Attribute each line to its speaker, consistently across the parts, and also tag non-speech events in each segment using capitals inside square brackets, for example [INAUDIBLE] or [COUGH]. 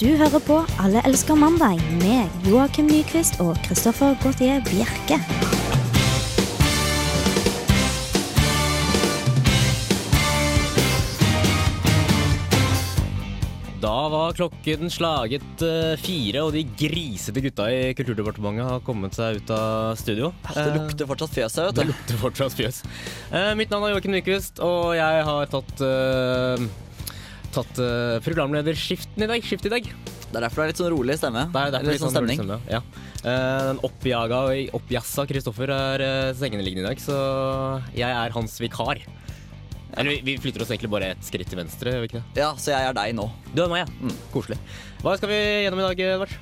Speaker 1: Du hører på Alle elsker mandag med Joakim Nyquist og Christoffer Gautier Bjerke.
Speaker 2: Da var klokken slaget eh, fire, og de grisete gutta i Kulturdepartementet har kommet seg ut av studio.
Speaker 3: Det lukter fortsatt fjøs her,
Speaker 2: Eh, det
Speaker 3: vet du.
Speaker 2: lukter fortsatt fjøs. Eh, mitt navn er Joakim Nyquist, og jeg har tatt eh, Tatt eh, programlederskiften i dag. Skift i dag. Det
Speaker 3: Det er derfor det er litt sånn rolig stemme.
Speaker 2: er derfor
Speaker 3: litt sånn stemning.
Speaker 2: rolig stemme, Ja. Eh, den oppjaga og oppjassa Kristoffer er eh, sengeliggende i dag, så jeg er hans vikar. Eller vi, vi flytter oss egentlig bare et skritt til venstre, gjør vi ikke det?
Speaker 3: Ja, så jeg er deg nå.
Speaker 2: Du er meg, ja. Mm, koselig. Hva skal vi gjennom i dag, Edvard?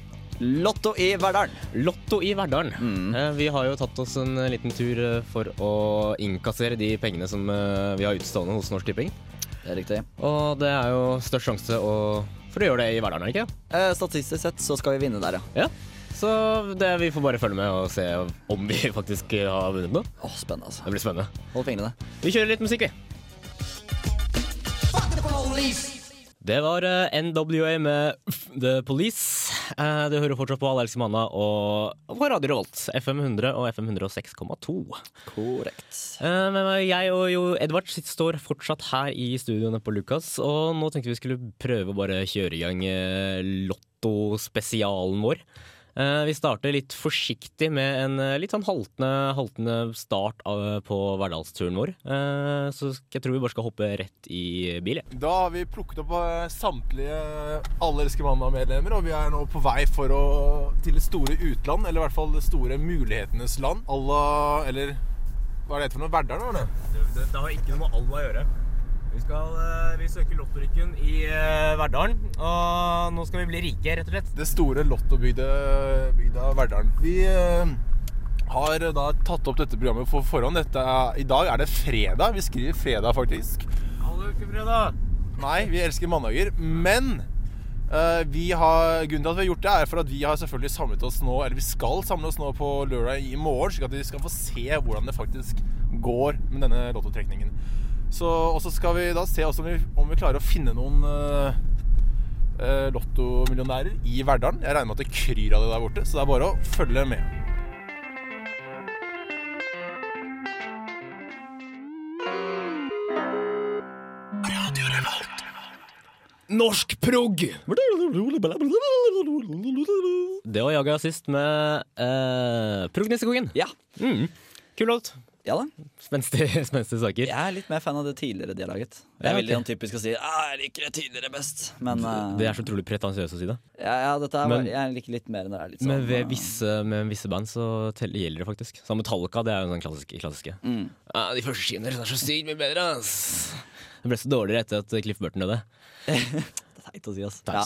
Speaker 3: Lotto i Verdalen.
Speaker 2: Lotto i Verdalen.
Speaker 3: Mm.
Speaker 2: Eh, Vi har jo tatt oss en eh, liten tur eh, for å innkassere de pengene som eh, vi har utstående hos Norsk Tipping.
Speaker 3: Det er riktig.
Speaker 2: Og det er jo størst sjanse å for å gjøre det i Verdalen, er det ikke det?
Speaker 3: Eh, statistisk sett så skal vi vinne der, ja.
Speaker 2: Ja. Så det, vi får bare følge med og se om vi [LAUGHS] faktisk eh, har vunnet noe.
Speaker 3: Åh, spennende, altså.
Speaker 2: Det blir spennende.
Speaker 3: Hold fingrene.
Speaker 2: Vi kjører litt musikk, vi. Det var eh, NWA med The Police. Eh, Du hører fortsatt på Alle elsker mandag og på Radio Revolt. FM 100 og FM 106,2.
Speaker 3: Korrekt.
Speaker 2: Eh, Men jeg og jo Edvard sitt- står fortsatt her i studioene på Lukas, og nå tenkte vi skulle prøve å bare kjøre i gang eh, Lotto-spesialen vår. Eh, Vi starter litt forsiktig med en eh, litt sånn haltende, haltende start av, eh, på hverdalsturen vår. Eh, Så sk- jeg tror vi bare skal hoppe rett i bil. jeg.
Speaker 4: Da har vi plukket opp eh, samtlige Alle elsker mandag-medlemmer, og vi er nå på vei for å, til det store utland, eller i hvert fall det store mulighetenes land. Alla, eller hva er det for noe? Verdalen, var det?
Speaker 5: Det, det, det har ikke noe med Allah å gjøre. Vi, skal, eh, vi søker lottorykken i eh, Verdalen, og nå skal vi bli rike, rett og slett.
Speaker 4: Det store lottobygda bygda Verdalen. Vi eh, har da tatt opp dette programmet på forhånd. Dette er, I dag er det fredag. Vi skriver fredag, faktisk.
Speaker 5: Alle uker fredag.
Speaker 4: Nei, vi elsker mandager, men eh, vi har, grunnen til at vi har gjort det, er for at vi har selvfølgelig samlet oss nå, eller vi skal samle oss nå på lørdag i morgen, slik at vi skal få se hvordan det faktisk går med denne lottotrekningen. Så, og så skal vi da se også om vi, om vi klarer å finne noen eh, eh, lottomillionærer i Verdalen. Jeg regner med at det kryr av det der borte, så det er bare å følge med. Norsk prog!
Speaker 2: Det var Jaga sist med eh, Prognisekongen.
Speaker 3: Ja.
Speaker 2: Mm. Kul låt.
Speaker 3: Ja da.
Speaker 2: Spenstig, [LAUGHS] spenstig saker.
Speaker 3: Jeg er litt mer fan av det tidligere de har laget. Det er
Speaker 2: Ja,
Speaker 3: veldig
Speaker 2: ok.
Speaker 3: sånn typisk å si «Ah, jeg liker det tidligere best, men eh,
Speaker 2: Det er så utrolig pretensiøst å si det.
Speaker 3: ja, ja, dette er,
Speaker 2: Men-
Speaker 3: jeg liker litt mer når det er litt sånn
Speaker 2: Men ved
Speaker 3: eh,
Speaker 2: visse, med visse band så teller, gjelder det faktisk. Så Metallica det er jo den klassiske. klassiske.
Speaker 3: Mm.
Speaker 2: Ja, de første skiene deres er så sykt mye bedre, ass! Det ble så dårligere etter at Cliff Burton døde.
Speaker 3: [LAUGHS] Det er teit å si, ass. Ja.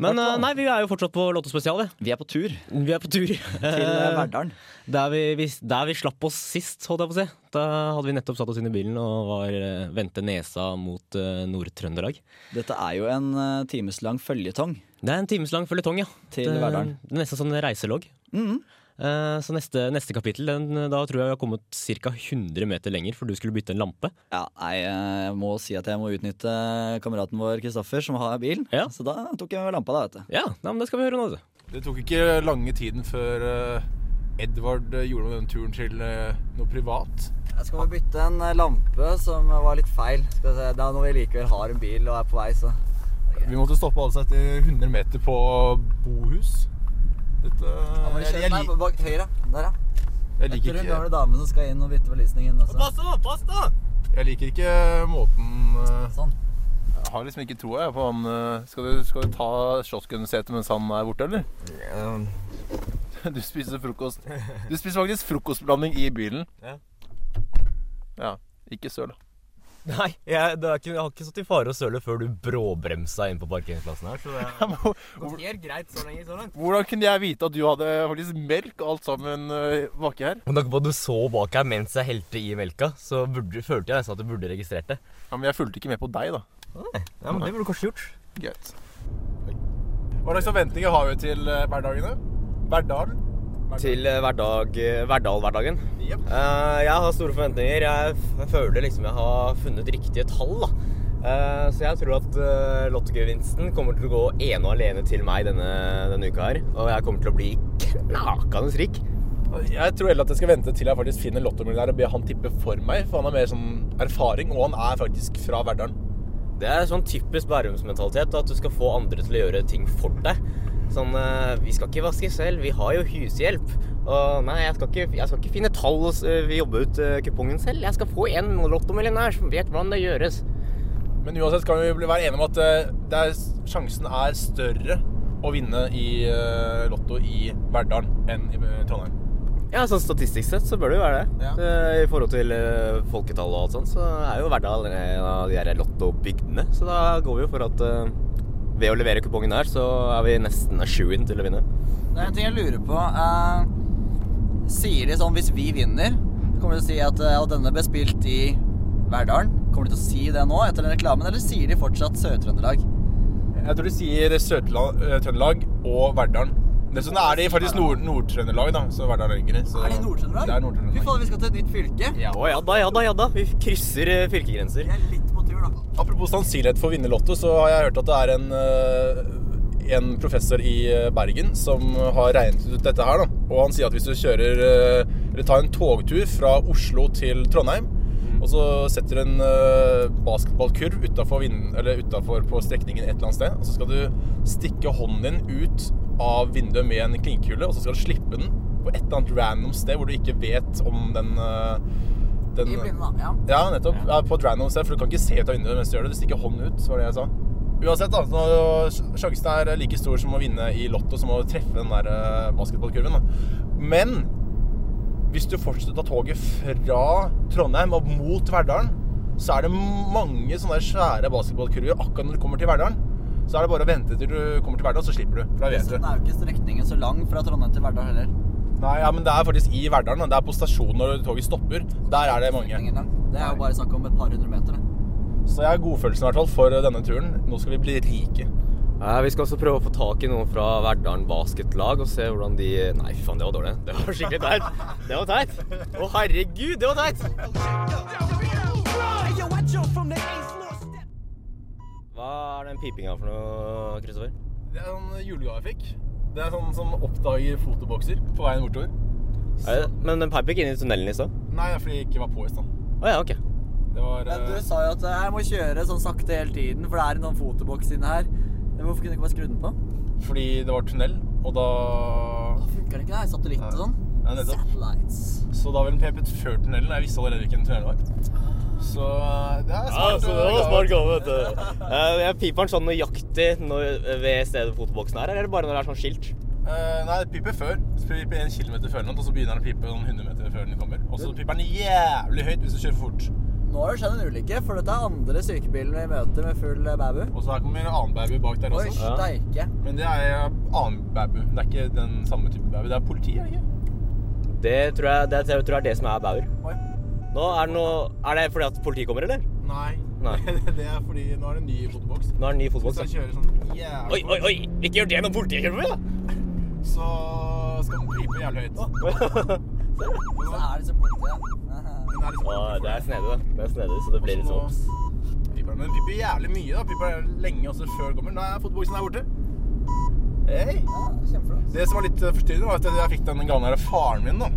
Speaker 2: Men eh, nei, vi er jo fortsatt på Lottospesial, vi.
Speaker 3: Vi er på tur til
Speaker 2: Vi er på tur. [LAUGHS]
Speaker 3: eh,
Speaker 2: Eh,
Speaker 3: Verdalen.
Speaker 2: der, vi, vi, der vi slapp oss sist, holdt jeg på å si. Da hadde vi nettopp satt oss inn i bilen og var eh, vendte nesa mot eh, Nord-Trøndelag.
Speaker 3: Dette er jo en eh, timeslang føljetong.
Speaker 2: Det er en timeslang føljetong, ja.
Speaker 3: Til
Speaker 2: Det-
Speaker 3: Verdalen.
Speaker 2: det er Nesten sånn reiselogg.
Speaker 5: Mm-hmm.
Speaker 2: Eh, Så neste, neste kapittel, den, da tror jeg vi har kommet ca. 100 meter lenger, for du skulle bytte en lampe.
Speaker 3: Ja, nei, jeg må si at jeg må utnytte kameraten vår Kristoffer, som har bil.
Speaker 2: Ja.
Speaker 3: Så da tok jeg med lampa, da, vet du.
Speaker 2: Ja, nei, men det skal vi høre nå. altså. vet du.
Speaker 4: Det tok ikke lange tiden før eh, Edvard eh, gjorde den turen til eh, noe privat.
Speaker 6: Jeg skal bare bytte en eh, lampe som var litt feil. Skal vi se. Det er når vi likevel har en bil og er på vei, så
Speaker 4: Vi måtte stoppe altså etter 100 meter på Bohus. Dette jeg, jeg,
Speaker 6: Nei,
Speaker 4: lik-
Speaker 6: bak høyre. Der, ja.
Speaker 4: jeg,
Speaker 6: Etter
Speaker 4: liker
Speaker 6: hun
Speaker 4: ikke,
Speaker 6: gamle damen som skal inn og bytte belysningen. Også.
Speaker 5: Pass da, pass da!
Speaker 4: jeg liker ikke måten eh,
Speaker 6: Sånn.
Speaker 4: Jeg har liksom ikke troa jeg, på han eh, Skal du, skal du ta kioskensetet mens han er borte, eller? [LAUGHS] Du spiser frokost Du spiser faktisk frokostblanding i bilen.
Speaker 5: Ja.
Speaker 4: Ja. Ikke søl.
Speaker 5: [LAUGHS] Nei, jeg, det er ikke, jeg har ikke stått i fare å søle før du bråbremsa inn på parkeringsplassen her. [LAUGHS] Så det har gått helt greit så lenge. så langt.
Speaker 4: Hvordan kunne jeg vite at du hadde faktisk melk og alt sammen eh, baki her?
Speaker 5: Med tanke på at du så bak her mens jeg helte i melka, så burde, følte jeg nesten at du burde registrert det.
Speaker 4: Ja, Men jeg fulgte ikke med på deg, da.
Speaker 5: Ja, men Det burde du kanskje gjort.
Speaker 4: Greit. Hva slags forventninger har vi til eh, hverdagene? Hverdalen?
Speaker 5: Til
Speaker 2: eh,
Speaker 5: hverdag, hverdag-hverdagen.
Speaker 4: Jep.
Speaker 5: Eh, jeg har store forventninger. Jeg f- føler liksom jeg har funnet riktige tall. da.
Speaker 2: Eh, Så jeg tror at eh, lottogevinsten kommer til å gå ene og alene til meg denne, denne uka her. Og jeg kommer til å bli knakende rik.
Speaker 4: Jeg tror heller at jeg skal vente til jeg faktisk finner lottomillionær og ber han tippe for meg, for han har mer sånn erfaring, og han er faktisk fra Verdalen.
Speaker 2: Det er sånn typisk Bærums-mentalitet, at du skal få andre til å gjøre ting for deg. Sånn eh, Vi skal ikke vaske selv, vi har jo hushjelp. Og nei, jeg skal ikke, jeg skal ikke finne tall og s- eh, jobbe ut eh, kupongen selv. Jeg skal få en lottomillionær som vet hvordan det gjøres.
Speaker 4: Men uansett kan vi bli- være enige om at eh, det er, sjansen er større å vinne i eh, Lotto i Verdalen enn i eh, Trondheim.
Speaker 2: Ja, sånn statistisk sett så bør det jo være det.
Speaker 4: Ja.
Speaker 2: Eh, I forhold til eh, folketallet og alt sånt, så er jo Verdal en av de der lottobygdene. Så da går vi jo for at eh, ved å levere kupongen her, så er vi nesten a shoe-in til å vinne.
Speaker 3: Det er en ting jeg lurer på. eh, sier de sånn hvis vi vinner, kommer de til å si at eh, «Og denne ble spilt i Verdalen? Kommer de til å si det nå etter den reklamen, eller sier de fortsatt Sør-Trøndelag?
Speaker 4: Jeg tror de sier Sør-Trøndelag eh, Trøndelag og Verdalen. Dessuten er de faktisk Nord- Nord-Trøndelag, da, så Verdalen er lenger. så-
Speaker 3: Er det Nord-Trøndelag?
Speaker 4: Det er
Speaker 3: Fy
Speaker 4: Nord-Trøndelag.
Speaker 3: faen, vi skal til et nytt fylke.
Speaker 2: Ja. Å ja da, ja da, ja da. Vi krysser eh, fylkegrenser.
Speaker 3: Vi er litt på tur, da.
Speaker 4: Apropos sannsynlighet for å vinne Lotto, så har jeg hørt at det er en, eh, en professor i eh, Bergen som har regnet ut dette her. Da. Og han sier at hvis du kjører eh, Eller tar en togtur fra Oslo til Trondheim, og så setter du en eh, basketballkurv utafor, eller utenfor på strekningen et eller annet sted, og så skal du stikke hånden din ut av vinduet med en klinkekule, og så skal du slippe den på et eller annet random sted hvor du ikke vet om den, eh, den
Speaker 3: I blinde, da. Ja.
Speaker 4: ja, nettopp. Ja. på et random sted, for du kan ikke se ut av vinduet mens du gjør det. Du stikker hånden ut, var det jeg sa. Uansett, da, så sjansen er like stor som å vinne i Lotto som å treffe den der eh, basketballkurven. Da. Men hvis du fortsetter å ta toget fra Trondheim og mot Verdalen, så er det mange sånne der svære basketballkurver akkurat når du kommer til Verdalen. Så er det bare å vente til du kommer til Verdalen, så slipper du. For da vet
Speaker 3: Dessuten er
Speaker 4: du.
Speaker 3: sånn, jo ikke strekningen så lang fra Trondheim til Verdal heller.
Speaker 4: Nei, ja, men det er faktisk i Verdalen. da. Det er på stasjonen når toget stopper. Der er det mange.
Speaker 3: Strekningen lang. Det er jo bare snakk om et par hundre meter.
Speaker 4: Eh.
Speaker 3: det.
Speaker 4: Så jeg har godfølelsen i hvert fall for denne turen. Nå skal vi bli rike.
Speaker 2: Eh, vi skal også prøve å få tak i noen fra Verdalen basketlag og se hvordan de Nei, fy faen, det var dårlig. Det var skikkelig teit. Det var teit. Å, herregud, det var teit. Hva er den pipinga for noe, Kristoffer?
Speaker 4: Det er sånn julegave jeg fikk. Det er sånn som oppdager fotobokser på veien bortover.
Speaker 2: Er det- Men den peip gikk inn i tunnelen i stad.
Speaker 4: Nei, det er fordi jeg ikke var på i stad.
Speaker 2: Å ja, ok.
Speaker 4: Det var
Speaker 3: Men du
Speaker 4: eh,
Speaker 3: sa jo at eh, jeg må kjøre sånn sakte hele tiden, for det er noen fotoboks inne her. Men Hvorfor kunne du ikke bare skru den på?
Speaker 4: fordi det var tunnel, og da
Speaker 3: Da funker den ikke, det er satellitt og sånn.
Speaker 4: Ja, nettopp.
Speaker 3: Satellites.
Speaker 4: Så da ville den pepet før tunnelen. Jeg visste allerede hvilken tunnel det var. Så eh, det er smart.
Speaker 2: Ja, så det var
Speaker 4: eh,
Speaker 2: smart gave, vet du. Eh, jeg piper den sånn nøyaktig når, ved stedet fotoboksen er, eller bare når det er sånn skilt?
Speaker 4: Eh, nei, det piper før. Så piper en kilometer før eller noe, og så begynner den å pipe noen hundre meter før den kommer. Og så piper den jævlig høyt hvis du kjører fort.
Speaker 3: Nå har det skjedd en ulykke, for dette er andre sykebilen vi møter med full eh, babu.
Speaker 4: Og så her kommer en annen baby bak der
Speaker 3: Oi,
Speaker 4: også.
Speaker 2: Ja.
Speaker 3: steike.
Speaker 4: Men det er en annen baby. Det er ikke den samme type baby. Det er politi, er det ikke?
Speaker 2: Det tror jeg det, tror jeg er det som er Bauer.
Speaker 4: Oi.
Speaker 2: Nå er det noe Er det fordi at politiet kommer, eller?
Speaker 4: Nei.
Speaker 2: Nei.
Speaker 4: [LAUGHS] det er fordi nå er det en ny fotoboks.
Speaker 2: Nå er det ny
Speaker 4: Hvis
Speaker 2: fotboks.
Speaker 4: jeg kjører sånn jævlig
Speaker 2: Oi, oi, oi! Ikke gjør det når politiet kommer, da!
Speaker 4: fort, så skal den pipe jævlig høyt.
Speaker 3: Så er det så borte.
Speaker 2: Å,
Speaker 4: Den er liksom for
Speaker 2: det er
Speaker 4: deg.
Speaker 2: snedig, da. Det er snedig, så det blir litt
Speaker 4: Så
Speaker 2: sånn obs.
Speaker 4: piper den. Men den piper jævlig mye. da. Piper den lenge også før den kommer. Nå er fotoboksen der borte. Hei!
Speaker 3: [LAUGHS] Ja, kjempeflott.
Speaker 4: Det som var litt eh, forstyrrende, var at jeg fikk den gamle her av faren min. da.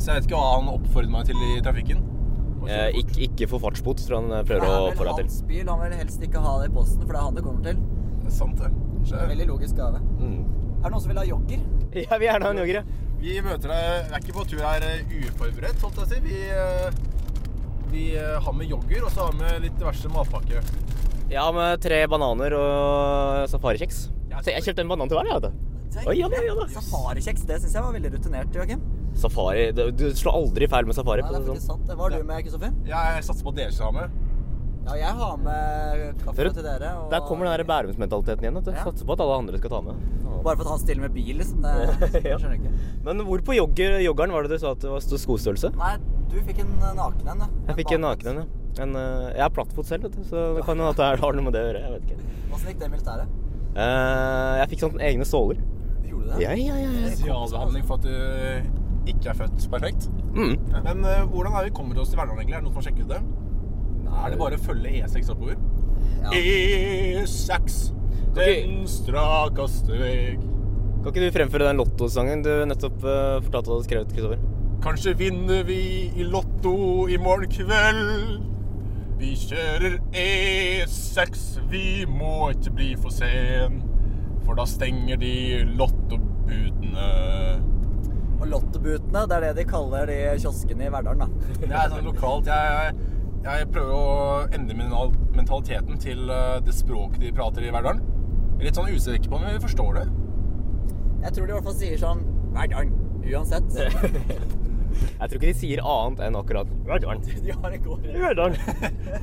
Speaker 4: Så jeg vet ikke hva han oppfordret meg til i trafikken. Å kjøre
Speaker 2: Eh,
Speaker 4: fort.
Speaker 2: ikke, ikke få fartsbot, tror jeg han eh,
Speaker 3: Det
Speaker 2: prøver å
Speaker 3: er
Speaker 2: få
Speaker 3: vel
Speaker 2: deg til.
Speaker 3: hans bil, han vil helst ikke ha det i posten, for det er han det kommer til.
Speaker 4: Det er Sant, det. Så-
Speaker 3: Veldig logisk gave.
Speaker 2: Mm.
Speaker 3: Er det noen som vil ha jogger?
Speaker 2: Jeg vil gjerne ha en jogger, jeg.
Speaker 4: Vi møter deg Vi er ikke på tur her eh, uforberedt, holdt jeg å si. Vi, eh, vi eh, har med jogger, og så har vi med litt diverse matpakke.
Speaker 2: Jeg har med tre bananer og safarikjeks. Se, jeg kjøpte en banan til hver, jeg, vet du. Oi, ja da, ja da.
Speaker 3: Safarikjeks, det syns jeg var veldig rutinert, Joakim.
Speaker 2: Safari Du, du slår aldri feil med safari.
Speaker 3: Nei, det
Speaker 2: for å si det
Speaker 3: er faktisk
Speaker 2: sånn.
Speaker 3: sant. Det var du med, Kristoffer?
Speaker 4: Jeg satser på at dere skal ha med.
Speaker 3: Ja, jeg har med kaffe
Speaker 2: Dere-
Speaker 3: til dere. Og
Speaker 2: Der kommer den der Bærums-mentaliteten igjen. vet du.
Speaker 3: Ja.
Speaker 2: Satser på at alle andre skal ta med.
Speaker 3: Bare for at han stiller med bil, liksom.
Speaker 2: [LAUGHS]
Speaker 3: Det
Speaker 2: Ja.
Speaker 3: skjønner jeg ikke.
Speaker 2: Men hvor på jogger, joggeren var det du sa at det var sto- skostørrelse?
Speaker 3: Nei, du fikk en eh, naken en, du.
Speaker 2: Jeg fikk en naken en, ja. En, eh, jeg er plattfot selv, vet du, så det kan hende at det er- har noe med det å gjøre. Jeg vet ikke.
Speaker 3: Åssen gikk det i militæret?
Speaker 2: Eh, jeg fikk sånn egne såler.
Speaker 3: Gjorde du det?
Speaker 2: Ja, ja, ja. ja.
Speaker 4: Spesialbehandling for at du ikke er født perfekt.
Speaker 2: Mm.
Speaker 4: Men eh, hvordan er vi kommet oss til hverdagen egentlig? Er det noen som har sjekket det? Er det bare å følge E6 oppover? E6, den strakeste veg.
Speaker 2: Kan ikke du fremføre den lottosangen du nettopp eh, fortalte at du hadde skrevet, Kristoffer?
Speaker 4: Kanskje vinner vi i Lotto i morgen kveld. Vi kjører E6, vi må ikke bli for sen. For da stenger de lottobudene.
Speaker 6: Og Lottobutene, det er det de kaller de kioskene i Verdalen, da.
Speaker 2: [LAUGHS]
Speaker 4: Det er sånn lokalt. Jeg, jeg prøver å endre min al- mentaliteten til eh, det språket de prater i Verdalen. Jeg er Litt sånn usikker på om jeg forstår det.
Speaker 6: Jeg tror de i hvert fall sier sånn Verdalen, uansett.
Speaker 2: [LAUGHS]
Speaker 3: [LAUGHS]
Speaker 2: Jeg tror ikke de sier annet enn akkurat Verdalen.
Speaker 6: De har en god
Speaker 2: Verdalen.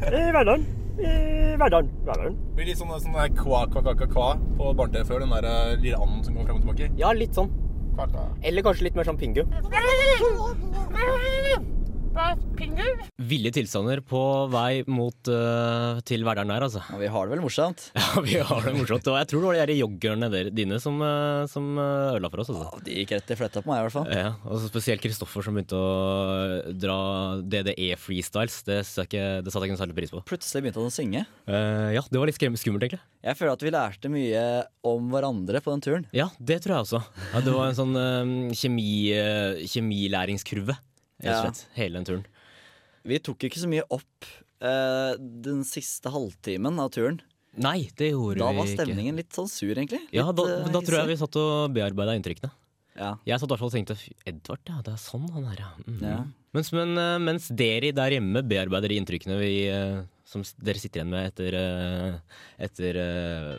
Speaker 2: Verdalen. Verdalen. Verdalen.
Speaker 4: Det blir litt sånn, sånn der kva, kva, kva, kva, kva på barne-TV før. Den der eh, lille anden som går frem og tilbake.
Speaker 2: Ja, litt sånn.
Speaker 4: Kva, kva.
Speaker 2: Eller kanskje litt mer sånn pingu.
Speaker 7: Ville tilstander på vei mot eh, til Verdalen der, altså. [LAUGHS]
Speaker 3: Ja, vi har det vel morsomt?
Speaker 7: Ja, vi har det morsomt. Og jeg tror det var de der joggerne der- dine som, eh, som eh, ødela for oss. Altså.
Speaker 3: Ja, de gikk rett i fletta på meg, i hvert fall.
Speaker 7: Ja, og så spesielt Kristoffer som begynte å eh, dra DDE freestyles. Det satte jeg ikke, det satte jeg ikke noe særlig pris på.
Speaker 3: Plutselig begynte han å synge.
Speaker 7: Eh, ja, det var litt skrem- skummelt, egentlig.
Speaker 3: Jeg føler at vi lærte mye om hverandre på den turen.
Speaker 7: Ja, det tror jeg også. Ja, det var en sånn eh, kjemi, eh, kjemilæringskurve, rett og
Speaker 3: Ja.
Speaker 7: slett. Hele den turen.
Speaker 3: Vi tok jo ikke så mye opp eh, den siste halvtimen av turen.
Speaker 7: Nei, det gjorde
Speaker 3: Da
Speaker 7: vi
Speaker 3: var
Speaker 7: ikke.
Speaker 3: stemningen litt sånn sur, egentlig. Litt,
Speaker 7: Ja, da,
Speaker 3: eh,
Speaker 7: da tror jeg
Speaker 3: hissig.
Speaker 7: vi satt og bearbeida inntrykkene.
Speaker 3: ja.
Speaker 7: Jeg satt i hvert fall og tenkte "Fy, Edvard, ja, det er sånn han er, ja. Mhm."
Speaker 3: Ja.
Speaker 7: Mens, men, eh, mens dere der hjemme bearbeider de inntrykkene vi, eh, som s- dere sitter igjen med etter, eh, etter eh,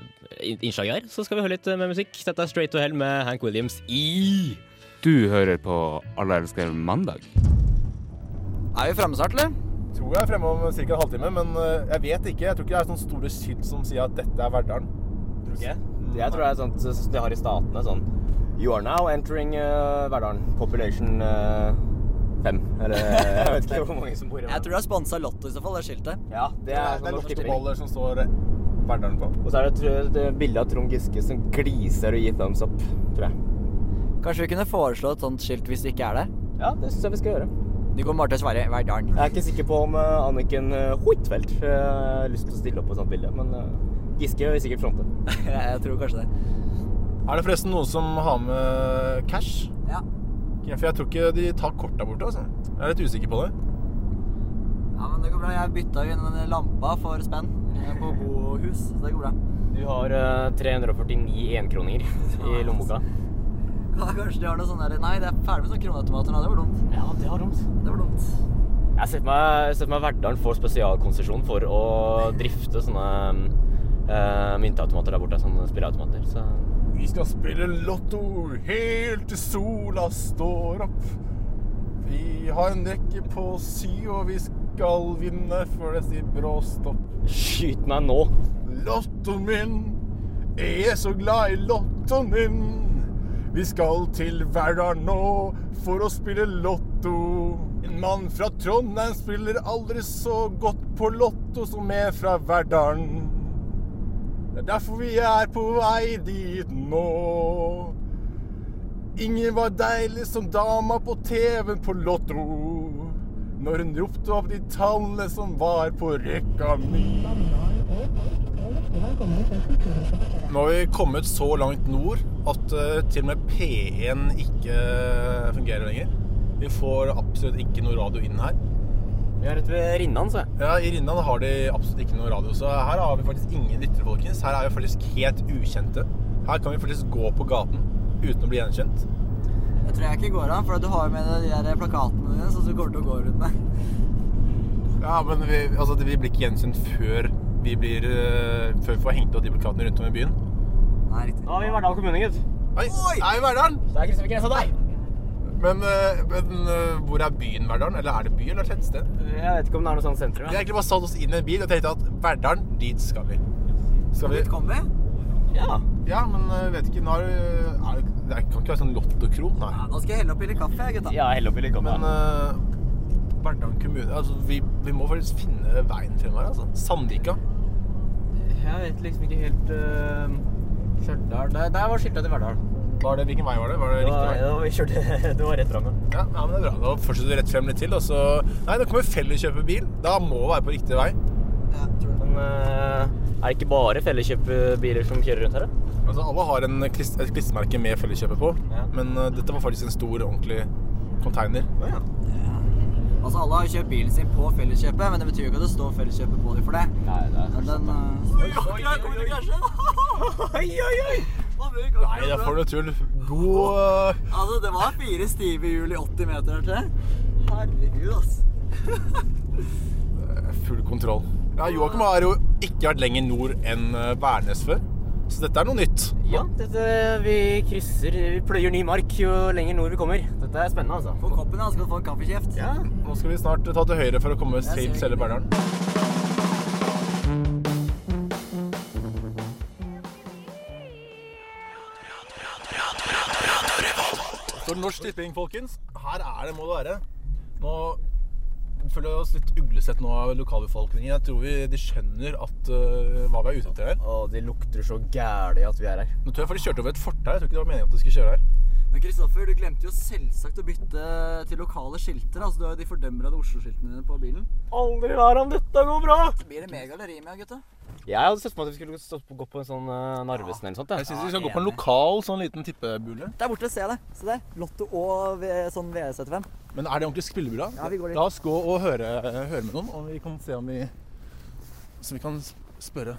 Speaker 7: in- innslaget her, så skal vi høre litt eh, med musikk. Dette er Straight to Hell med Hank Williams i
Speaker 8: Du hører på Alle elsker mandag.
Speaker 6: Er vi fremme snart, eller?
Speaker 4: Tror jeg er fremme om ca. en halvtime, men eh, jeg vet ikke. Jeg tror ikke det er sånne store skilt som sier at dette er Verdalen.
Speaker 2: Jeg tror det er sånt som de har i statene. Sånn You are now entering eh, Verdalen. Population eh, fem. Eller [LAUGHS] jeg vet ikke hvor mange som bor i
Speaker 6: Jeg
Speaker 2: Verdalen.
Speaker 6: tror det er sponsa Lotto i så fall, det skiltet.
Speaker 2: Ja, det
Speaker 4: Det
Speaker 2: er
Speaker 4: er, det
Speaker 2: sånn
Speaker 4: er
Speaker 2: norsk
Speaker 4: norske
Speaker 2: tipping.
Speaker 4: boller som står eh, Verdalen på.
Speaker 2: Og så er det tror jeg, et bilde av Trond Giske som gliser og gir thumbs up, tror jeg.
Speaker 6: Kanskje vi kunne foreslå et sånt skilt hvis det ikke er det?
Speaker 2: Ja, det syns jeg vi skal gjøre.
Speaker 6: De går bare til å svare Verdalen.
Speaker 3: [LAUGHS]
Speaker 2: Jeg er ikke sikker på om eh, Anniken eh, Huitfeldt eh, har lyst til å stille opp på et sånt bilde, men eh, Giske vil sikkert fronte.
Speaker 6: Jeg tror kanskje det.
Speaker 4: Er det forresten noen som har med cash?
Speaker 6: Ja.
Speaker 4: Ok, For jeg tror ikke de tar kort der borte. altså. Jeg er litt usikker på det.
Speaker 6: Ja, men det går bra. Jeg bytta jo inn den lampa for spenn eh, på bohus, så det går bra.
Speaker 2: Du har eh, 349 enkroninger [LAUGHS] i lommeboka.
Speaker 6: Ja, Kanskje de har noe sånn der Nei, det er ferdig med sånn kroneautomater nå. Det var dumt.
Speaker 2: Ja, det har dumt.
Speaker 6: Det var dumt.
Speaker 2: Jeg ser for meg, ser for meg Verdalen får spesialkonsesjon for å drifte sånne eh, mynteautomater der borte. Sånne spilleautomater. Så
Speaker 4: Vi skal spille lotto helt til sola står opp. Vi har en rekke på syv, og vi skal vinne før det sier brå stopp.
Speaker 2: skyt meg nå!
Speaker 4: Lottoen min, jeg er så glad i lottoen min. Vi skal til Verdal nå for å spille lotto. En mann fra Trondheim spiller aldri så godt på lotto som jeg fra Verdalen. Det er derfor vi er på vei dit nå. Ingen var deilig som dama på TV-en på Lotto. Når hun ropte opp de tallene som var på rekka mi. Nå har vi kommet så langt nord at eh, til og med P1 ikke eh, fungerer lenger. Vi får absolutt ikke noe radio inn her.
Speaker 2: Vi er rett ved Rinnan, så jeg.
Speaker 4: Ja, I Rinnan har de absolutt ikke noe radio, så her har vi faktisk ingen lyttere, folkens. Her er vi faktisk helt ukjente. Her kan vi faktisk gå på gaten uten å bli gjenkjent.
Speaker 6: Jeg tror jeg ikke går an, for du har jo med deg de der plakatene dine som du kommer til å gå rundt med.
Speaker 4: Ja, men vi, altså, vi blir ikke gjenkjent før vi blir eh, Før vi får hengt opp de plakatene rundt om i byen.
Speaker 6: Nei, riktig.
Speaker 2: Nå er vi i Verdal kommune, gutt.
Speaker 4: Oi! Er vi i Verdalen?
Speaker 2: Det er Kristoffer Grensa der!
Speaker 4: Men, eh, men eh, hvor er byen Verdalen? Eller er det by, eller er det tettsted?
Speaker 2: Jeg vet ikke om det er noe sånt sentrum.
Speaker 4: Vi
Speaker 2: Ja.
Speaker 4: har egentlig bare satt oss inn i en bil og tenkte at Verdalen, dit skal vi. Skal vi?
Speaker 6: Dit kom vi.
Speaker 2: ja.
Speaker 4: Ja, men jeg vet ikke, nå er det, er det, det kan ikke være sånn lotto-kron, nei.
Speaker 6: Ja, nå skal jeg helle oppi litt kaffe, jeg, gutta.
Speaker 2: Ja, hell oppi litt
Speaker 4: Men eh, Verdalen kommune, altså vi, vi må faktisk finne veien frem her, altså. Sandvika.
Speaker 2: Jeg vet liksom ikke helt uh, Stjørdal der, der var skilta til Verdal.
Speaker 4: Var det, hvilken vei var det? Var
Speaker 2: Det
Speaker 4: det riktig
Speaker 2: var,
Speaker 4: vei?
Speaker 2: ja, vi kjørte, [LAUGHS] det var rett fram. ja.
Speaker 4: Ja, ja, men det er bra. Da fortsetter vi rett frem litt til, og så... Nei, nå kommer felleskjøpe bil. Da må vi være på riktig vei.
Speaker 6: Ja, tror det.
Speaker 2: Men eh, Er det ikke bare Felleskjøp-biler som kjører rundt her, da?
Speaker 4: Altså, alle har en klist, et klistremerke med Felleskjøpet på,
Speaker 2: Ja.
Speaker 4: men eh, dette var faktisk en stor, ordentlig container.
Speaker 3: Altså, alle har jo kjøpt bilen sin på Felleskjøpet, men det betyr jo ikke at det står Felleskjøpet på dem for det. Nei, det er men den, eh, [LAUGHS]
Speaker 4: Nei, det er for noe tull. God eh,
Speaker 3: Altså, det var fire stive hjul i 80 meter, hørte jeg. Herregud, ass.
Speaker 4: full kontroll. Ja, Joakim har jo ikke vært lenger nord enn eh, Værnes før, så dette er noe nytt.
Speaker 2: Ja, dette, vi krysser Vi pløyer ny mark jo lenger nord vi kommer. Dette er spennende, altså.
Speaker 3: På koppen, ja, skal du få en kaffekjeft.
Speaker 2: Ja.
Speaker 4: Nå skal vi snart eh, ta til høyre for å komme
Speaker 3: ser
Speaker 4: til
Speaker 3: ikke
Speaker 4: selve
Speaker 3: det.
Speaker 4: Verdalen. For Norsk Tipping, folkens, her er det må det være. Nå føler vi oss litt uglesett nå av lokalbefolkningen. Jeg tror vi, de skjønner at, øh, hva vi er ute etter her.
Speaker 2: Å, det lukter så gæli at vi er her.
Speaker 4: Nå tror jeg for de kjørte over et fortau. Jeg tror ikke det var meningen at de skulle kjøre her.
Speaker 3: Men Kristoffer, du glemte jo selvsagt å bytte til lokale skilter. Altså, du har jo de fordømrede Oslo-skiltene dine på bilen.
Speaker 2: Aldri vær om dette går bra!
Speaker 3: Det blir det mer galleri med, gutta.
Speaker 2: Jeg hadde sett for meg at vi skulle stå på, gå på en sånn eh, Narvesen eller noe sånt.
Speaker 4: Jeg syns
Speaker 2: Ja.
Speaker 4: vi skal gå på en lokal sånn liten tippebule.
Speaker 3: Der borte ser jeg det. Se der. Lotto og V- sånn VE75.
Speaker 4: Men er det ordentlig spillebula?
Speaker 3: Ja, vi går dit.
Speaker 4: La oss gå og høre, høre med noen, og vi kan se om vi Så vi kan spørre.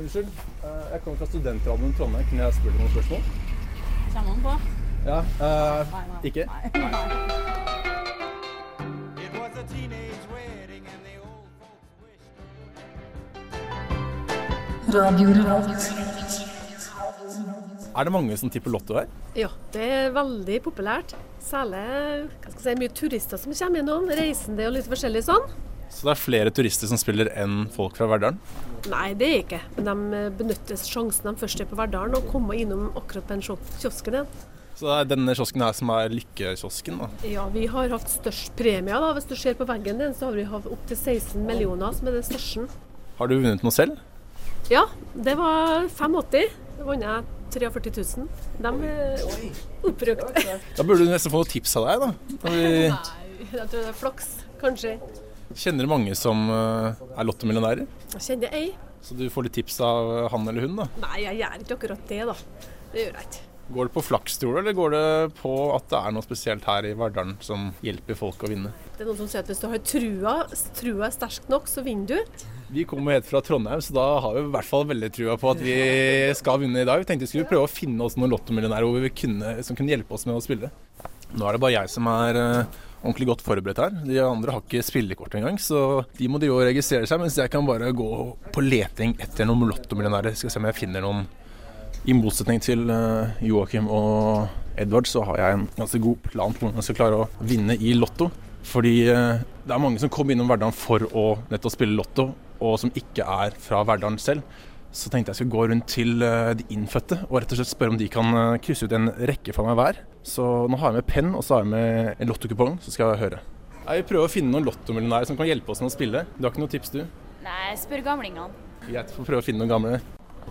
Speaker 4: Unnskyld, eh, jeg kommer fra Studentradioen i Trondheim. Kunne jeg spurt deg noen spørsmål?
Speaker 9: Kjenner han på?
Speaker 4: Ja, eh, ikke? Er det mange som tipper Lotto her?
Speaker 9: Ja, det er veldig populært. Særlig hva skal jeg si, mye turister som kommer gjennom. Reisende og litt forskjellig sånn.
Speaker 4: Så det er flere turister som spiller enn folk fra Verdalen?
Speaker 9: Nei, det er ikke. Men de benytter sjansen de først er på Verdalen, og kommer innom akkurat på den sjok- kiosken igjen.
Speaker 4: Så det er denne kiosken her som er lykkekiosken, da.
Speaker 9: Ja, vi har hatt størst premie. da. Hvis du ser på veggen din, så har vi hatt opptil 16 millioner, som er den største.
Speaker 4: Har du vunnet noe selv?
Speaker 9: Ja, det var 85. Da vant jeg 43 000. De er [LAUGHS] oppbrukt.
Speaker 4: Da burde du nesten få noen tips av deg, da. Når vi
Speaker 9: Nei, jeg tror det er flaks, kanskje.
Speaker 4: kjenner mange som eh, er lottomillionærer.
Speaker 9: Jeg kjenner ei.
Speaker 4: Så du får litt tips av han eller hun, da.
Speaker 9: Nei, jeg gjør ikke akkurat det, da. Det gjør jeg ikke.
Speaker 4: Går det på flaks, tror du, eller går det på at det er noe spesielt her i Verdalen som hjelper folk å vinne?
Speaker 9: Det er noen som sier at hvis du har trua, trua er sterk nok, så vinner du.
Speaker 4: Vi kommer helt fra Trondheim, så da har vi i hvert fall veldig trua på at vi skal vinne i dag. Vi tenkte vi skulle prøve å finne oss noen lottomillionærer hvor vi kunne, som kunne hjelpe oss med å spille. Nå er det bare jeg som er eh, ordentlig godt forberedt her. De andre har ikke spillekort engang, så de må de jo registrere seg, mens jeg kan bare gå på leting etter noen lottomillionærer. Skal se om jeg finner noen. I motsetning til eh, Joakim og Edvard, så har jeg en ganske god plan på hvordan jeg skal klare å vinne i Lotto. Fordi eh, det er mange som kommer innom Verdalen for å nettopp spille Lotto, og som ikke er fra Verdalen selv. Så tenkte jeg skulle gå rundt til eh, de innfødte og rett og slett spørre om de kan eh, krysse ut en rekke for meg hver. Så nå har jeg med penn og så har jeg med en lottokupong, så skal jeg høre. Jeg vil prøve å finne noen lottomillionærer som kan hjelpe oss med å spille. Du har ikke noe tips, du?
Speaker 10: Nei, spør gamlingene.
Speaker 4: Greit, får prøve å finne noen gamle.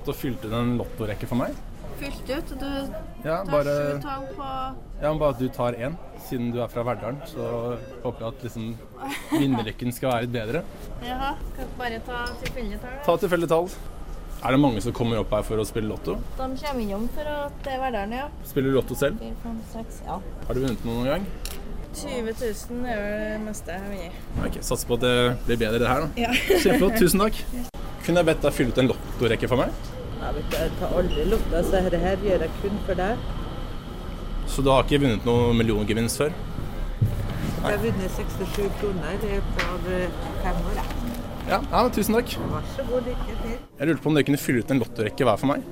Speaker 4: Så fylte du en lottorekke for meg?
Speaker 9: Fylt ut. Du tar
Speaker 4: Ja,
Speaker 9: sju tang på
Speaker 4: Ja, men bare at du tar én, siden du er fra Verdalen. Så håper jeg at liksom, vinnerlykken skal være litt bedre.
Speaker 9: Jaha. Skal bare ta tilfeldige tall.
Speaker 4: Ta tilfeldige tall. Er det mange som kommer opp her for å spille lotto?
Speaker 10: De kommer innom for at det er Verdalen, ja.
Speaker 4: Spiller du lotto selv?
Speaker 10: 4, 5, 6, ja.
Speaker 4: Har du vunnet noe noen gang?
Speaker 10: 20 000 er vel det meste jeg har vunnet.
Speaker 4: Ok, Satser på at det blir bedre det her, da. Ja. [LAUGHS] Kjempeflott. Tusen takk. Kunne jeg bedt deg fylle ut en lottorekke for meg?
Speaker 11: Jeg vet ikke, jeg tar aldri lukta, så dette her gjør jeg kun for deg.
Speaker 4: Så du har ikke vunnet noen milliongevinst før?
Speaker 11: Jeg har vunnet 67 kroner eh, for eh, fem år. jeg.
Speaker 4: Ja, ja men tusen takk.
Speaker 11: Vær så god, lykke til.
Speaker 4: Jeg lurte på om dere kunne fylle ut en lottorekke hver for meg?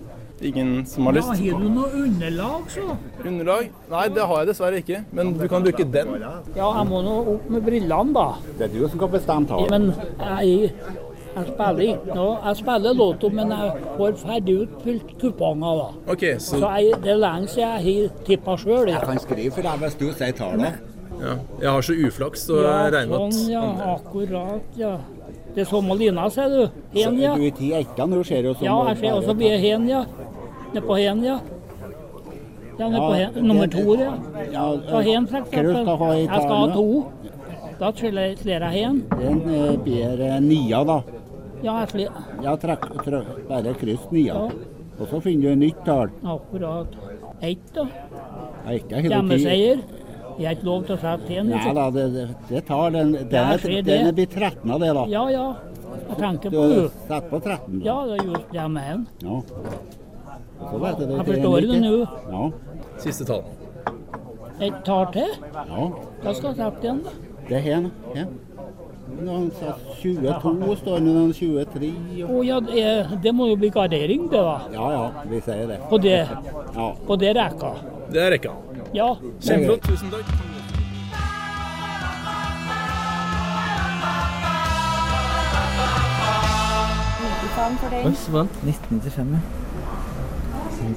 Speaker 4: Ingen som har lyst? Har du noe underlag, så? Underlag? Nei, det har jeg dessverre ikke. Men du kan bruke den.
Speaker 12: Ja, jeg må nå opp med brillene, da.
Speaker 7: Det er du som kan bestemme
Speaker 12: Ja, Men jeg, jeg spiller ikke noe. Jeg spiller lotto, men jeg får ferdig utfylt kuponger, da.
Speaker 4: Ok, så
Speaker 12: Så jeg, det er lenge siden jeg har tippa sjøl.
Speaker 7: Jeg kan skrive for deg hvis du sier tallene.
Speaker 4: Ja. Jeg har så uflaks, så
Speaker 12: Ja,
Speaker 4: jeg regner med
Speaker 12: sånn,
Speaker 4: at
Speaker 12: ja. Akkurat, ja. Det er samme lina, sier du. Hen, ja.
Speaker 7: Du er ti etter når du ser jo sånn.
Speaker 12: Ja, jeg ser også blir hen, ja. Nede på hen, ja. Ja, nede på hen. Nummer to, ja.
Speaker 7: Ja,
Speaker 12: På hen, for
Speaker 7: Hva du
Speaker 12: eksempel.
Speaker 7: skal ha i
Speaker 12: Jeg skal ha
Speaker 7: tallene?
Speaker 12: to. Da slår jeg slår jeg hen.
Speaker 7: Den eh, blir eh, nia, da.
Speaker 13: Ja, jeg sli-
Speaker 14: Ja, trekk, trekk, bare kryss nia. Og så finner du et nytt tall.
Speaker 13: akkurat ett, da.
Speaker 14: Ja, ikke hele
Speaker 13: Hjemmeseier. Jeg har ikke lov til å sette til
Speaker 14: Nei da, det, det, det tar den Den
Speaker 13: Der
Speaker 14: er,
Speaker 13: skjer det.
Speaker 14: den er blitt 13 av det, da.
Speaker 13: Ja, ja. Jeg tenker
Speaker 14: Du
Speaker 13: på det.
Speaker 14: setter på 13, da.
Speaker 13: Ja, det er just det med en.
Speaker 14: Ja. Og så vet du det
Speaker 13: Jeg
Speaker 14: tre
Speaker 13: forstår det
Speaker 14: nytt,
Speaker 13: nå.
Speaker 14: Ja.
Speaker 4: Siste tall.
Speaker 13: Et tar til.
Speaker 14: Ja.
Speaker 13: Da skal jeg sette igjen, da.
Speaker 14: Det er her, da. her. Noen satt 22 står det, noen 23
Speaker 13: Å ja, det- det må jo bli gardering, det, da.
Speaker 14: Ja ja, vi sier det.
Speaker 13: På det,
Speaker 14: Ja.
Speaker 13: på det rekka.
Speaker 4: Det er rekka.
Speaker 13: Ja.
Speaker 4: Kjempeflott. Tusen takk.
Speaker 2: Hvem som vant? 1995, ja.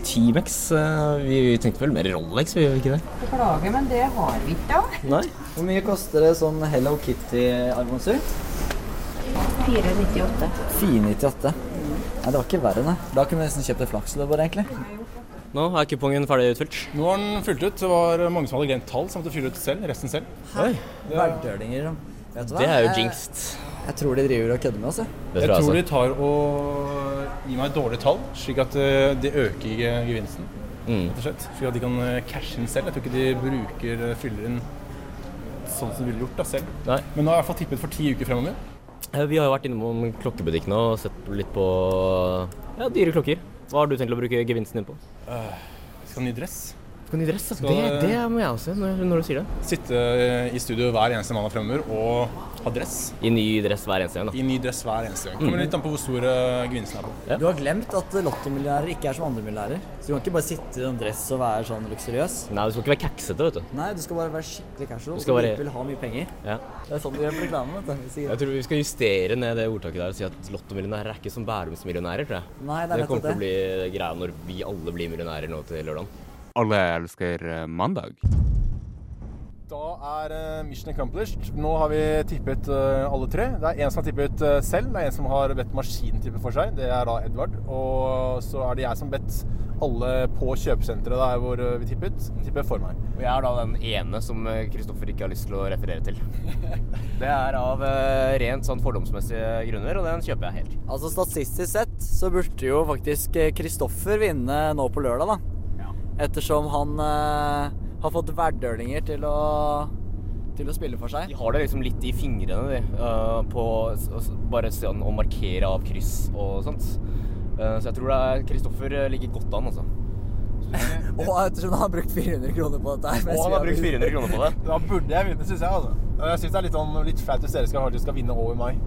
Speaker 2: T-Max eh, vi, vi tenkte vel mer Rolex, vi gjør vi ikke det?
Speaker 15: Beklager, men det har vi ikke, da.
Speaker 2: Nei.
Speaker 3: Hvor mye koster det sånn Hello Kitty-armbåndsur?
Speaker 15: 498.
Speaker 3: 498. Nei, det var ikke verre, nei. Da kunne vi nesten kjøpt et flaksløv bare, egentlig.
Speaker 2: Nå er kupongen ferdig utfylt.
Speaker 4: Nå har den fylt ut. Det var mange som hadde glemt tall, så måtte fylle ut selv. Resten selv.
Speaker 3: Hæ? Verdølinger. Vet du hva?
Speaker 4: Det er jo
Speaker 3: Jeg-
Speaker 4: jinxed.
Speaker 3: Jeg tror de driver og kødder med oss, jeg.
Speaker 4: Jeg tror de tar og gir meg dårlige tall, slik at eh, det øker eh, gevinsten.
Speaker 2: Mm.
Speaker 4: Rett og slett. Slik at de kan eh, cashe inn selv. Jeg tror ikke de bruker eh, fyller inn sånn som de ville gjort da, selv. Men nå har jeg i hvert fall tippet for ti uker fremover.
Speaker 2: Eh, Vi har jo vært innom klokkebutikken og sett litt på ja, dyre klokker. Hva har du tenkt å bruke gevinsten din på?
Speaker 4: Eh, skal ha ny dress.
Speaker 2: Skal ny dress,
Speaker 4: Skal,
Speaker 2: det, det
Speaker 4: eh,
Speaker 2: må jeg også når, når du sier det.
Speaker 4: Sitte eh, i studio hver eneste mandag fremover og ha dress.
Speaker 2: I ny dress hver eneste gang, da.
Speaker 4: I ny dress hver eneste gang. Kommer
Speaker 2: Mm.
Speaker 4: litt an på hvor stor eh, gevinsten er på.
Speaker 3: Du har glemt at lottomillionærer ikke er som andre millionærer. Så du kan ikke bare sitte i en dress og være sånn luksuriøs.
Speaker 2: Nei, du skal ikke være kaksete, vet du.
Speaker 3: Nei, du skal bare være skikkelig casual.
Speaker 2: Du
Speaker 3: Du
Speaker 2: skal
Speaker 3: skal
Speaker 2: bare-
Speaker 3: vil ha mye penger.
Speaker 2: Ja.
Speaker 3: Det er sånn du gjør på reklamen. vet du. Sikkert.
Speaker 2: Jeg tror vi skal justere ned det ordtaket der og si at lottomillionærer er ikke som Bærumsmillionærer, tror jeg.
Speaker 3: Nei, det er nettopp
Speaker 2: kommer til å
Speaker 3: det.
Speaker 2: bli greia når vi alle blir millionærer nå til lørdagen.
Speaker 8: Alle elsker eh, mandag.
Speaker 4: Da er eh, mission accomplished. Nå har vi tippet eh, alle tre. Det er en som har tippet eh, selv, det er en som har bedt maskinen tippe for seg. Det er da Edvard. Og så er det jeg som bedt alle på kjøpesenteret der hvor eh, vi tippet, tipper for meg.
Speaker 2: Og jeg er da den ene som eh, Kristoffer ikke har lyst til å referere
Speaker 3: [LAUGHS]
Speaker 2: til. Det er av rent sånn fordomsmessige grunner, og den kjøper jeg helt.
Speaker 3: Altså Statistisk sett så burde jo faktisk eh, Kristoffer vinne nå på lørdag, da. Ettersom han eh, har fått verdølinger til å, til å spille for seg.
Speaker 2: De har det liksom litt i fingrene, de. eh, på s- s- bare sånn å markere av kryss og sånt. Eh, så jeg tror det er Kristoffer eh, ligger godt an, altså.
Speaker 3: Og ettersom han har brukt 400 kroner på dette her.
Speaker 2: Og han har brukt 400 kroner på det.
Speaker 3: [LAUGHS]
Speaker 4: Da burde jeg vinne, syns jeg. altså. Jeg syns det er litt, sånn, litt flaut hvis dere skal, faktisk skal vinne over meg.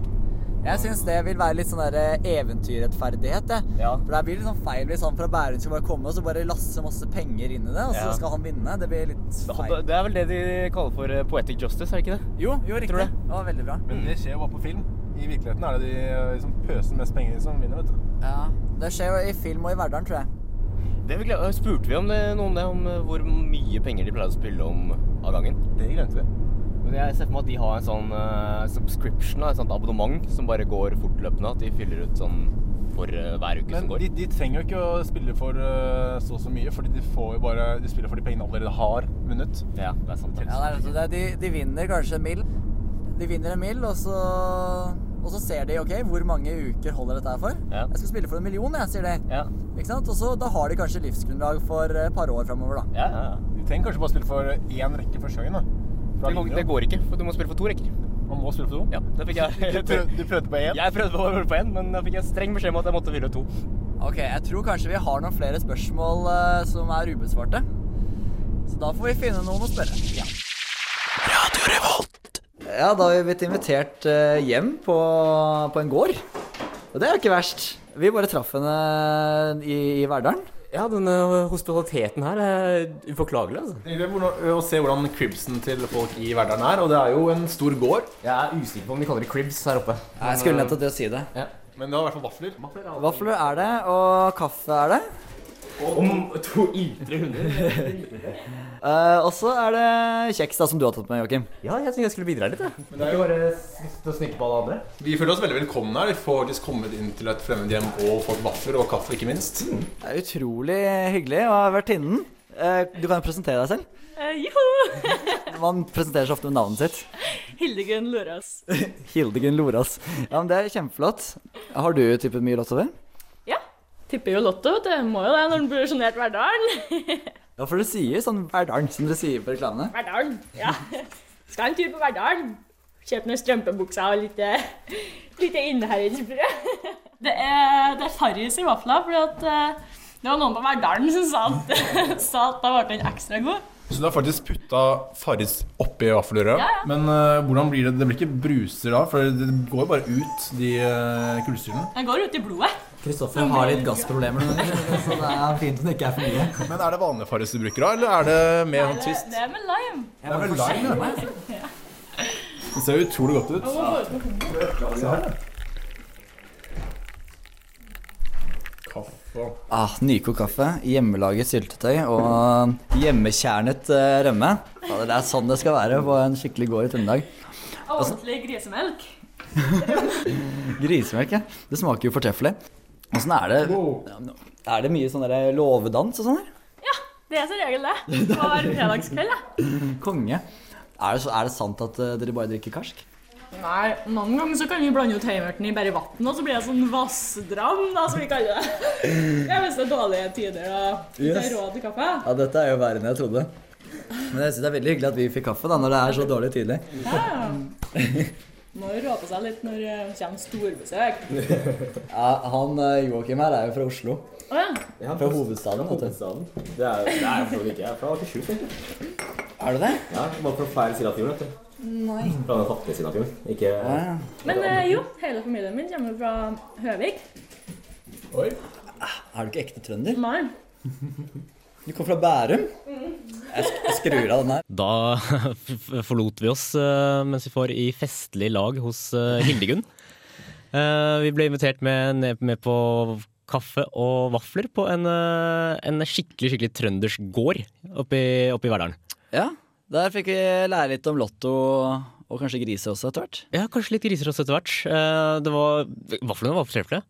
Speaker 3: Jeg syns det vil være litt sånn der eventyrrettferdighet. jeg. For det blir litt sånn feil hvis han fra Bærum skal bare komme og så bare lasse masse penger inn i det, og så
Speaker 2: Ja.
Speaker 3: skal han vinne. Det blir litt feil.
Speaker 2: Det er vel det de kaller for eh, poetic justice, er det ikke det?
Speaker 3: Jo, jo riktig. Det. var veldig bra.
Speaker 4: Men det skjer jo bare på film. I virkeligheten er det de eh, som pøser mest penger inn, som vinner, vet du.
Speaker 3: Ja, Det skjer jo i film og i hverdagen, tror jeg.
Speaker 2: det vi gle- eh, spurte vi om det, noe om det, om eh, hvor mye penger de pleide å spille om av gangen?
Speaker 4: Det glemte vi.
Speaker 2: Men jeg ser for meg at de har en sånn eh, subscription, da, et sånt abonnement, som bare går fortløpende. At de fyller ut sånn for eh, hver uke
Speaker 4: Men
Speaker 2: som går.
Speaker 4: de, de trenger jo ikke å spille for eh, så og så mye, fordi de, får jo bare, de spiller for de pengene de allerede har vunnet.
Speaker 2: Ja, det er sant.
Speaker 3: Ja, det er nettopp det. De, de vinner kanskje en mil. De vinner en mil, og så, og så ser de ok, hvor mange uker holder dette her for. Jeg skal spille for en million, jeg, sier de. Ikke sant? Og så da har de kanskje livsgrunnlag for eh, et par år framover, da.
Speaker 4: Du trenger kanskje bare spille for én rekke første gangen. da. For da
Speaker 2: Det går-
Speaker 4: vinner
Speaker 2: det
Speaker 4: du.
Speaker 2: går ikke, for du må spille for to rekker.
Speaker 4: Man må spille for to?
Speaker 2: Ja, det fikk jeg.
Speaker 4: [LAUGHS] Du prøv- du prøvde på én?
Speaker 2: Jeg prøvde på- på én, men da fikk jeg streng beskjed om at jeg måtte fylle to.
Speaker 3: Ok, jeg tror kanskje vi har noen flere spørsmål eh, som er ubesvarte. Så da får vi finne noen å spørre. Ja. Ja, da har vi blitt invitert eh, hjem på, på en gård. Og det er jo ikke verst. Vi bare traff henne eh, i, i Verdalen.
Speaker 2: Ja, denne hospitaliteten her er uforklagelig, altså.
Speaker 4: Det er hvordan- Å se hvordan cribsen til folk i hverdagen er, og det er jo en stor gård.
Speaker 2: Jeg er usikker på om de kaller det cribs her oppe.
Speaker 3: Jeg skulle nettopp til å si det.
Speaker 4: Men det er i hvert fall vafler.
Speaker 3: Vafler er det, og kaffe er det.
Speaker 2: Om to ytre hunder.
Speaker 3: Eh, og så er det kjeks da, som du har tatt med, Joakim.
Speaker 2: Ja, jeg tenkte jeg skulle bidra litt. Men det er jo bare til å snike på alle andre.
Speaker 4: Vi føler oss veldig velkomne her. Vi får faktisk kommet inn til et fremmed hjem og fått vafler og kaffe, ikke minst.
Speaker 3: Det er utrolig hyggelig å ha vært innen. Eh, Du kan jo presentere deg selv.
Speaker 12: Eh, [LAUGHS] Joho!
Speaker 3: Man presenterer seg ofte med navnet sitt.
Speaker 12: Hildegunn Løras.
Speaker 3: Hildegunn Loras. Ja, men Det er kjempeflott. Har du tippet mye lotto før?
Speaker 12: Ja. Tipper jo Lotto. Det må jo det når den blir sjonert Verdalen.
Speaker 3: Ja, for du sier sånn Verdalen, som dere sier på reklamene.
Speaker 12: Verdalen, ja. Skal en tur på Verdalen. Kjøp noen strømpebukser og litt, eh, litt innherredsbrød. Det er, det er Farris i vafla, for det var noen på Verdalen som sa at, [LAUGHS] sa at da ble den ekstra god.
Speaker 4: Så du har faktisk putta Farris oppi vaffelrøra.
Speaker 12: Ja, ja.
Speaker 4: Men eh, hvordan blir det? Det blir ikke bruser da? For det går jo bare ut, de uh, kullstyrene.
Speaker 12: Den går ut i blodet.
Speaker 3: Kristoffer har litt gassproblemer, [LAUGHS] så det er fint om det ikke er for mye.
Speaker 4: Men er det vanlig Farris du bruker da, eller er det med sånn
Speaker 12: Det,
Speaker 4: twist?
Speaker 12: det er med lime.
Speaker 4: Det er vel lime,
Speaker 12: ja.
Speaker 4: Det ser jo utrolig godt ut. Se her, da. Kaffe.
Speaker 3: Ah, Nykokt kaffe, hjemmelaget syltetøy og hjemmekjernet eh, rømme. Ja, det er sånn det skal være på en skikkelig gård i Trøndelag.
Speaker 12: Og ordentlig grisemelk.
Speaker 3: Grisemelk, ja. Det smaker jo fortreffelig. Åssen er det Er det mye sånn der låvedans og sånn? her?
Speaker 12: Ja, det er som regel det. Hver fredagskveld, da.
Speaker 3: Konge. Er det, så, er det sant at eh, dere bare drikker karsk?
Speaker 12: Nei, noen ganger så kan vi blande ut heimerten i bare vann, og så blir det sånn vassdram, da, som vi kaller det. Det er mest dårlige tider og ikke
Speaker 3: Yes.
Speaker 12: råd til kaffe.
Speaker 3: Ja, dette er jo verre enn jeg trodde. Men jeg synes det er veldig hyggelig at vi fikk kaffe da, når det er så dårlig tidlig.
Speaker 12: Ja. Må jo råde seg litt når eh, det kommer storbesøk.
Speaker 3: Ja, han eh, Joakim her er jo fra Oslo.
Speaker 12: Å ja.
Speaker 3: Fra hovedstaden. vet du.
Speaker 16: Det er det er for så vidt ikke jeg. er Fra Akershus, egentlig.
Speaker 3: Er du det?
Speaker 16: Ja, bare fra feil side av fjorden, vet du.
Speaker 12: Nei.
Speaker 16: Fra den fattige siden av fjorden. Ikke
Speaker 3: Ja,
Speaker 12: Men eh, jo, hele familien min kommer fra Høvik.
Speaker 3: Er du ikke ekte trønder?
Speaker 12: Nei.
Speaker 3: [LAUGHS] Du kommer fra Bærum? Jeg, sk jeg skrur av den her.
Speaker 7: Da [LAUGHS] f- forlot vi oss eh, mens vi var i festlig lag hos eh, [LAUGHS] Hildegunn. Eh, Vi ble invitert med, ned- med på kaffe og vafler på en, eh, en skikkelig skikkelig trøndersk gård oppe i, oppe i Verdalen.
Speaker 3: Ja, der fikk vi lære litt om lotto og kanskje griser også etter hvert.
Speaker 7: Ja, kanskje litt griser også etter hvert. Eh, Det var, vaflene var fortreffelige.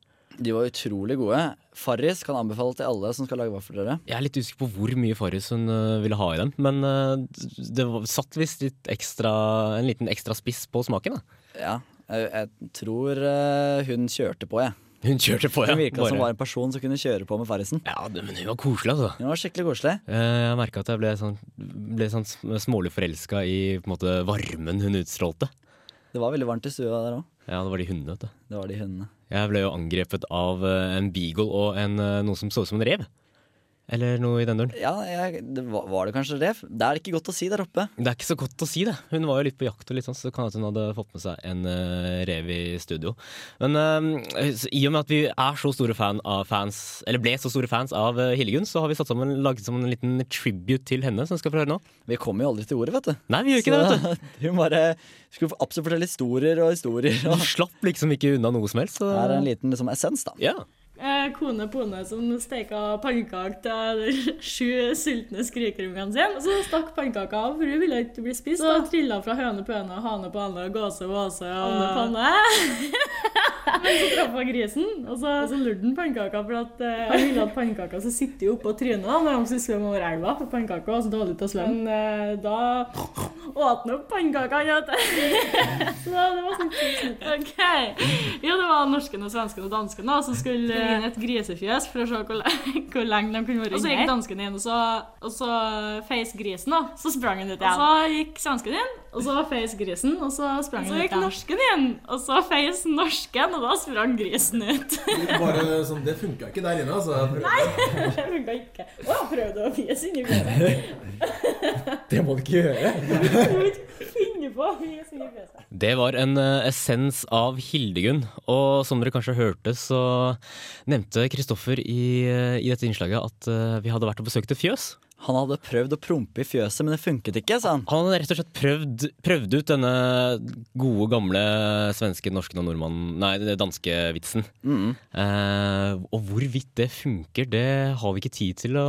Speaker 3: De var utrolig gode. Farris kan anbefale til alle som skal lage vaffelrøre.
Speaker 7: Jeg er litt usikker på hvor mye Farris hun eh, ville ha i dem, men eh, det var, satt visst litt ekstra, en liten ekstra spiss på smaken. da.
Speaker 3: Ja, jeg, jeg tror eh, hun kjørte på, jeg.
Speaker 7: Hun kjørte på, ja.
Speaker 3: Hun virka som
Speaker 7: Bare-
Speaker 3: var en person som kunne kjøre på med Farrisen.
Speaker 7: Ja, men hun var koselig, altså.
Speaker 3: Hun var skikkelig koselig.
Speaker 7: Eh, Jeg merka at jeg ble sånn, ble sånn sm- smålig forelska i på en måte, varmen hun utstrålte.
Speaker 3: Det var veldig varmt i stua der òg.
Speaker 7: Ja, det var de hundene, vet du.
Speaker 3: Det var de hundene.
Speaker 7: Jeg ble jo angrepet av eh, en beagle og en, eh, noe som så ut som en rev. Eller noe i den duren.
Speaker 3: Ja, jeg, det var, var det kanskje rev? Det er ikke godt å si der oppe.
Speaker 7: Det er ikke så godt å si, det. Hun var jo litt på jakt, og litt sånn, så det kan hende hun hadde fått med seg en eh, rev i studio. Men eh, s- i og med at vi er så store fan av fans, eller ble så store fans av uh, Hillegunn, så har vi satt sammen, laget sammen en liten tribute til henne, som vi skal få høre nå.
Speaker 3: Vi kommer jo aldri til ordet, vet du.
Speaker 2: [LAUGHS]
Speaker 7: Nei, vi gjør ikke det,
Speaker 3: [LAUGHS]
Speaker 7: vet du.
Speaker 3: Hun bare skulle absolutt fortelle historier og historier.
Speaker 7: Vi slapp liksom ikke unna noe som helst. Så...
Speaker 3: Her er en liten liksom, essens, da.
Speaker 7: Ja.
Speaker 12: Eh, Kone Pone som steka pannekaker til de [LAUGHS] sju sultne skrikerungene sine. Og Så stakk pannekaka av, for hun ville ikke bli spist. Så trilla fra høne på høne, hane på hane, gåse på gåse og
Speaker 17: Panne
Speaker 12: [LAUGHS] Men så traff hun grisen, og så, og så lurte han pannekaka. For at, eh, han ville at pannekaka skulle sitte oppå trynet da, når han skulle svømme over elva. For pannekaka var så dårlig til å svømme. Men eh, da åt han opp pannekaka, han vet du. [LAUGHS] Så da, det var sånn kult. Ok. Ja, det var norskene, svenskene og danskene da, som skulle eh, inn i et grisefjøs for å se hvor, le- [LAUGHS] hvor lenge de kunne være
Speaker 17: Og så
Speaker 12: inne
Speaker 17: gikk
Speaker 12: her. danskene inn, og så, og så feis grisen, da. Så sprang han ut igjen. Og så gikk svensken inn, og så feis grisen, og så sprang
Speaker 17: han ut
Speaker 12: Så gikk
Speaker 17: igjen.
Speaker 12: norsken inn, og så feis norsken, og da sprang grisen ut.
Speaker 4: Bare sånn, Det funka ikke der inne, altså.
Speaker 12: Nei, det funka ikke. Å, jeg prøvde å fjes
Speaker 4: [LAUGHS]
Speaker 12: inni fjeset.
Speaker 4: Det må du ikke gjøre.
Speaker 12: [LAUGHS] Jeg må ikke finne på å fjes inni fjeset.
Speaker 7: Det var en eh, essens av Hildegunn. Og som dere kanskje hørte, så nevnte Kristoffer i, eh, i dette innslaget at eh, vi hadde vært og besøkt et fjøs.
Speaker 3: Han hadde prøvd å prompe i fjøset, men det funket ikke, sa han.
Speaker 7: Han hadde rett og slett prøvd, prøvd ut denne gode, gamle svenske, norske og nordmannen Nei, det danske vitsen.
Speaker 3: Mm.
Speaker 7: Eh, og hvorvidt det funker, det har vi ikke tid til å,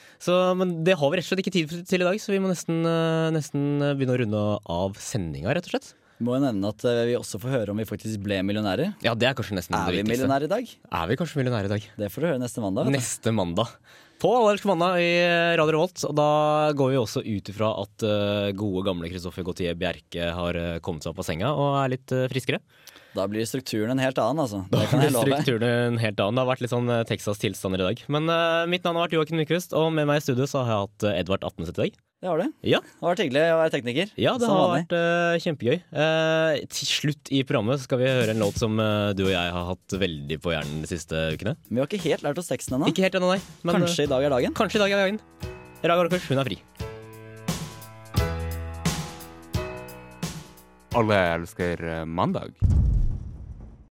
Speaker 2: Så, men det har vi rett og slett ikke tid til i dag, så vi må nesten, eh, nesten eh, begynne å runde av sendinga, rett og slett.
Speaker 3: Må jo nevne at eh, vi også får høre om vi faktisk ble millionærer.
Speaker 2: Ja, det Er kanskje nesten
Speaker 3: Er vi
Speaker 2: det viktigste.
Speaker 3: millionærer i dag?
Speaker 2: Er vi kanskje millionærer i dag?
Speaker 3: Det får du høre neste mandag. vet du.
Speaker 2: Neste mandag. På Allersk mandag i eh, Radio Revolt. Og da går vi også ut ifra at eh, gode, gamle Kristoffer Gautier Bjerke har eh, kommet seg opp av senga og er litt eh, friskere.
Speaker 3: Da blir strukturen en helt annen, altså.
Speaker 2: Da
Speaker 3: Det kan jeg
Speaker 2: blir
Speaker 3: love.
Speaker 2: strukturen en helt annen. Det har vært litt sånn eh, Texas-tilstander i dag. Men eh, mitt navn har vært Joakim Nyquist, og med meg i studio så har jeg hatt eh, Edvard Atneset i dag.
Speaker 3: Det har du.
Speaker 2: Ja.
Speaker 3: Det har vært hyggelig å være tekniker.
Speaker 2: Ja, det
Speaker 3: som
Speaker 2: har
Speaker 3: vanlig.
Speaker 2: vært eh, kjempegøy. Eh, til slutt i programmet skal vi høre en låt som eh, du og jeg har hatt veldig på hjernen de siste ukene.
Speaker 3: Vi har ikke helt lært oss teksten ennå.
Speaker 2: Ikke helt ennå, nei. men, eh,
Speaker 3: Kanskje i dag er dagen.
Speaker 2: Kanskje i dag er dagen. Raga Orkers, hun er fri.
Speaker 7: Alle elsker eh, mandag.